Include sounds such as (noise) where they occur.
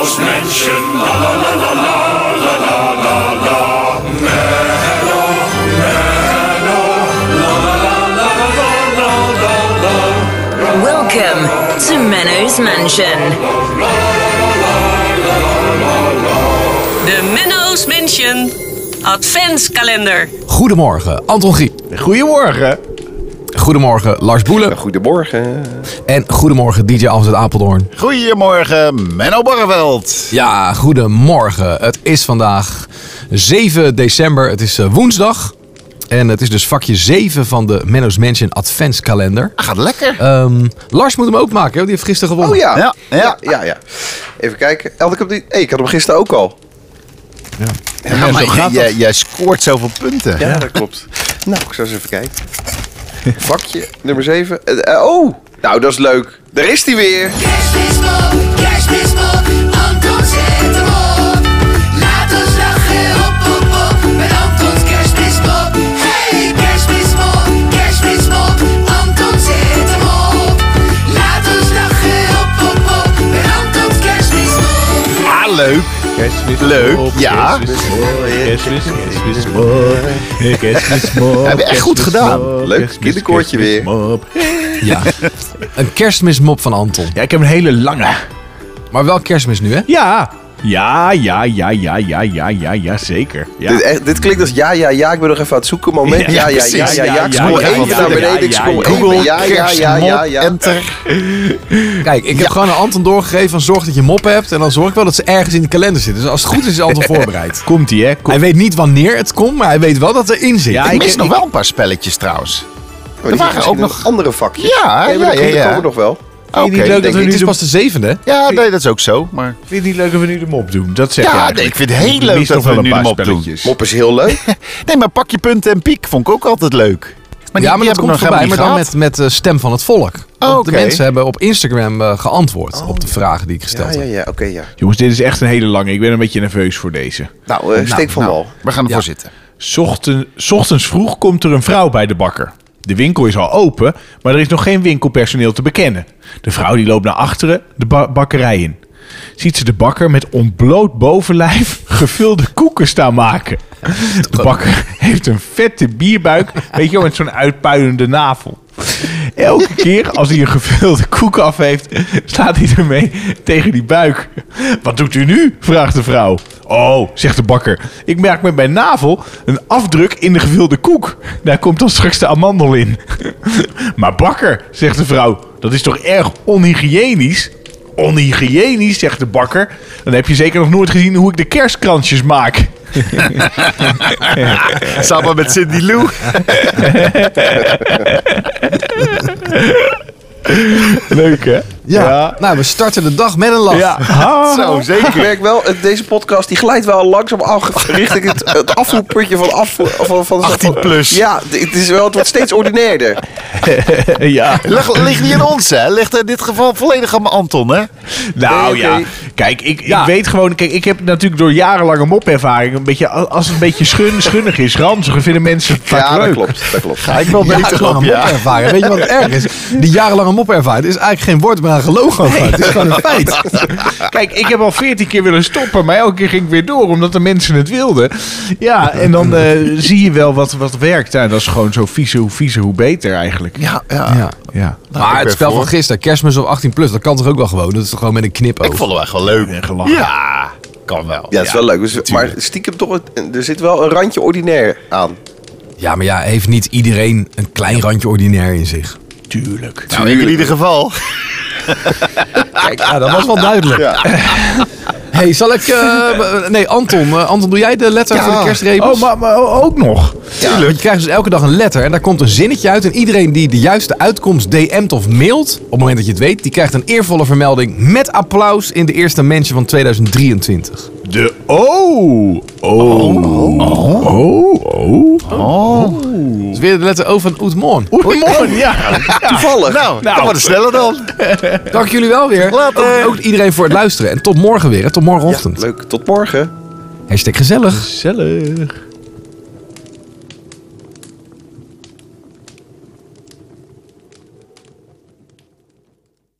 dansje. La la la la la la la la la. Menno, Menno, la la la la la la la la. Welcome to Menno's Mansion. De Menno's Mansion Adventskalender. Goedemorgen, Anton Griep. Goedemorgen. Goedemorgen, Lars Boelen. Goedemorgen. En goedemorgen, DJ Amsterdam Apeldoorn. Goedemorgen, Menno Barreveld. Ja, goedemorgen. Het is vandaag 7 december. Het is eh, woensdag. En het is dus vakje 7 van de Menno's Mansion Adventskalender. Gaat lekker. Ehm, Lars moet hem ook maken, hè, want die heeft gisteren gewonnen. Oh ja. Ja, Ja, ja. ja, ja. Even kijken. Had ik, hem niet... hey, ik had hem gisteren ook al. Ja, maar zo j- gaat jij, jij scoort zoveel punten. Ja, dat klopt. Nou, ik zal eens even kijken. Vakje nummer 7. oh, nou dat is leuk. Daar is hij weer. Kerstmis op, kerstmis op, Anton zet hem op. Laat ons lachen, op, op, op, met Antons kerstmis op. Hey, kerstmis op, kerstmis op, Anton zet hem op. Laat ons lachen, op, op, op, met Antons kerstmis op. Ah, leuk. Leuk, ja. Heb je echt goed gedaan. Leuk kinderkoortje weer. Ja. Een kerstmismop van Anton. Ja, ik heb een hele lange. Maar wel kerstmis nu, hè? Ja. Ja, ja, ja, ja, ja, ja, ja, ja, zeker. Ja. Dit, echt, dit klinkt als ja, ja, ja. Ik ben nog even aan het zoeken. Moment. Ja, ja, ja, ja, ja. Ik scroll ja, even ja, naar ja, beneden. ik ja, scroll ja, even. Google, ja, ja, ja, ja, ja. enter. Kijk, ik heb gewoon aan Anton doorgegeven van zorg dat je mop hebt. En dan zorg ik wel dat ze ergens in de kalender zitten. Dus als het goed is, is Anton voorbereid. Komt ie, hè? Kom- Hij weet niet wanneer het komt, maar hij weet wel dat het erin zit. Ja, Ik mis ik- nog wel een paar spelletjes trouwens. Maar Oh, die waren zitten ook in nog- een andere vakjes. Ja, Nee, maar ja, die komen- ja, ja. die komen nog wel. Oké. niet leuk dat het we nu is de- dus pas de zevende. hè? Ja, nee, dat is ook zo. Maar... Vind je het niet leuk dat we nu de mop doen? Dat zeg Ja, je nee, eigenlijk. ik vind het heel Ik leuk mis dat nog we wel nu een de paar mop doen. spelletjes. Mop is heel leuk. (laughs) Nee, maar pak je punten en piek vond ik ook altijd leuk. Maar die, ja, maar die dat heb ik komt nog voorbij, maar helemaal dan niet met, met de stem van het volk. Want oké. de mensen hebben op Instagram eh, geantwoord op de vragen die ik gesteld Ja, ja, heb. ja. Oké, ja. Jongens, dit is echt een hele lange. Ik ben een beetje nerveus voor deze. Nou, eh, steek van gehad. wal. Nou, we gaan ervoor Ja. zitten. Ochten, 's ochtends vroeg komt er een vrouw bij de bakker. De winkel is al open, maar er is nog geen winkelpersoneel te bekennen. De vrouw die loopt naar achteren de ba- bakkerij in. Ziet ze de bakker met ontbloot bovenlijf (laughs) gevulde koeken staan maken. De bakker (laughs) heeft een vette bierbuik, weet je wel, met zo'n uitpuilende navel. Elke keer als hij een gevulde koek af heeft, slaat hij ermee tegen die buik. Wat doet u nu? vraagt de vrouw. Oh, zegt de bakker. Ik merk met mijn navel een afdruk in de gevulde koek. Daar komt dan straks de amandel in. Maar bakker, zegt de vrouw, dat is toch erg onhygiënisch? Onhygiënisch, zegt de bakker. Dan heb je zeker nog nooit gezien hoe ik de kerstkransjes maak. (laughs) Samen met Cindy Lou. Leuk, hè? Ah. Ja. Nou, we starten de dag met een lach. Ja. Ha. Zo, Ik zeker. merk wel, eh, deze podcast die glijdt wel langzaam af richting het, het afvoerputje van, afvoer, van, van, van- 18 plus. Ja, d- het, is wel, het wordt steeds ordinairder. (laughs) ja. Ligt, ligt niet in ons, hè? Ligt in dit geval volledig aan Anton, hè? Nou Nee, oké. ja, kijk, ik, ik Ja. weet gewoon... Kijk, ik heb natuurlijk door jarenlange mopervaring... Een beetje, als het een beetje schun, schunnig is, ranzig, vinden mensen het vaak Ja, dat leuk. klopt. Dat klopt. ik wel Jarenlange mopervaring. Weet je wat erg is? Die jarenlange mopervaring is eigenlijk geen woord, maar een gelogen over. Het is gewoon een feit. (laughs) Kijk, ik heb al veertien keer willen stoppen, maar elke keer ging ik weer door, omdat de mensen het wilden. Ja, en dan eh, zie je wel wat, wat werkt. Ja, dat is gewoon zo vieze, hoe vieze, hoe beter eigenlijk. Ah. Ja, ja. Ja. ja. Maar het spel van ervoor. gisteren, kerstmis op 18+, plus, dat kan toch ook wel gewoon? Dat is toch gewoon met een knipoog? Ik vond hem echt wel leuk. En gelachen. Ja, kan wel. Ja, het is wel leuk. Dus- maar stiekem toch, een- er zit wel een randje ordinair Ah, aan. Ja, maar ja, heeft niet iedereen een klein randje ordinair in zich? Tuurlijk. Nou, ik in ieder geval. Kijk, ja, dat was wel duidelijk. hey, zal ik... eh, b- nee, Anton. eh, Anton, doe jij de letter voor de kerstrebels? Oh, maar, maar ook nog. Ja, want je krijgt dus elke dag een letter en daar komt een zinnetje uit. En iedereen die de juiste uitkomst DM't of mailt, op het moment dat je het weet, die krijgt een eervolle vermelding met applaus in de eerste mensen van 2023. De oh. Oh. Oh. Oh. oh. Dus weer de letter O van Oetmoorn. Oei, ja. Toevallig. Nou, Nou. nou. wat sneller dan. Dank jullie wel weer. Ook, ook iedereen voor het luisteren. En tot morgen weer, hè. tot morgenochtend. Leuk. Tot morgen. Hashtag gezellig. Gezellig.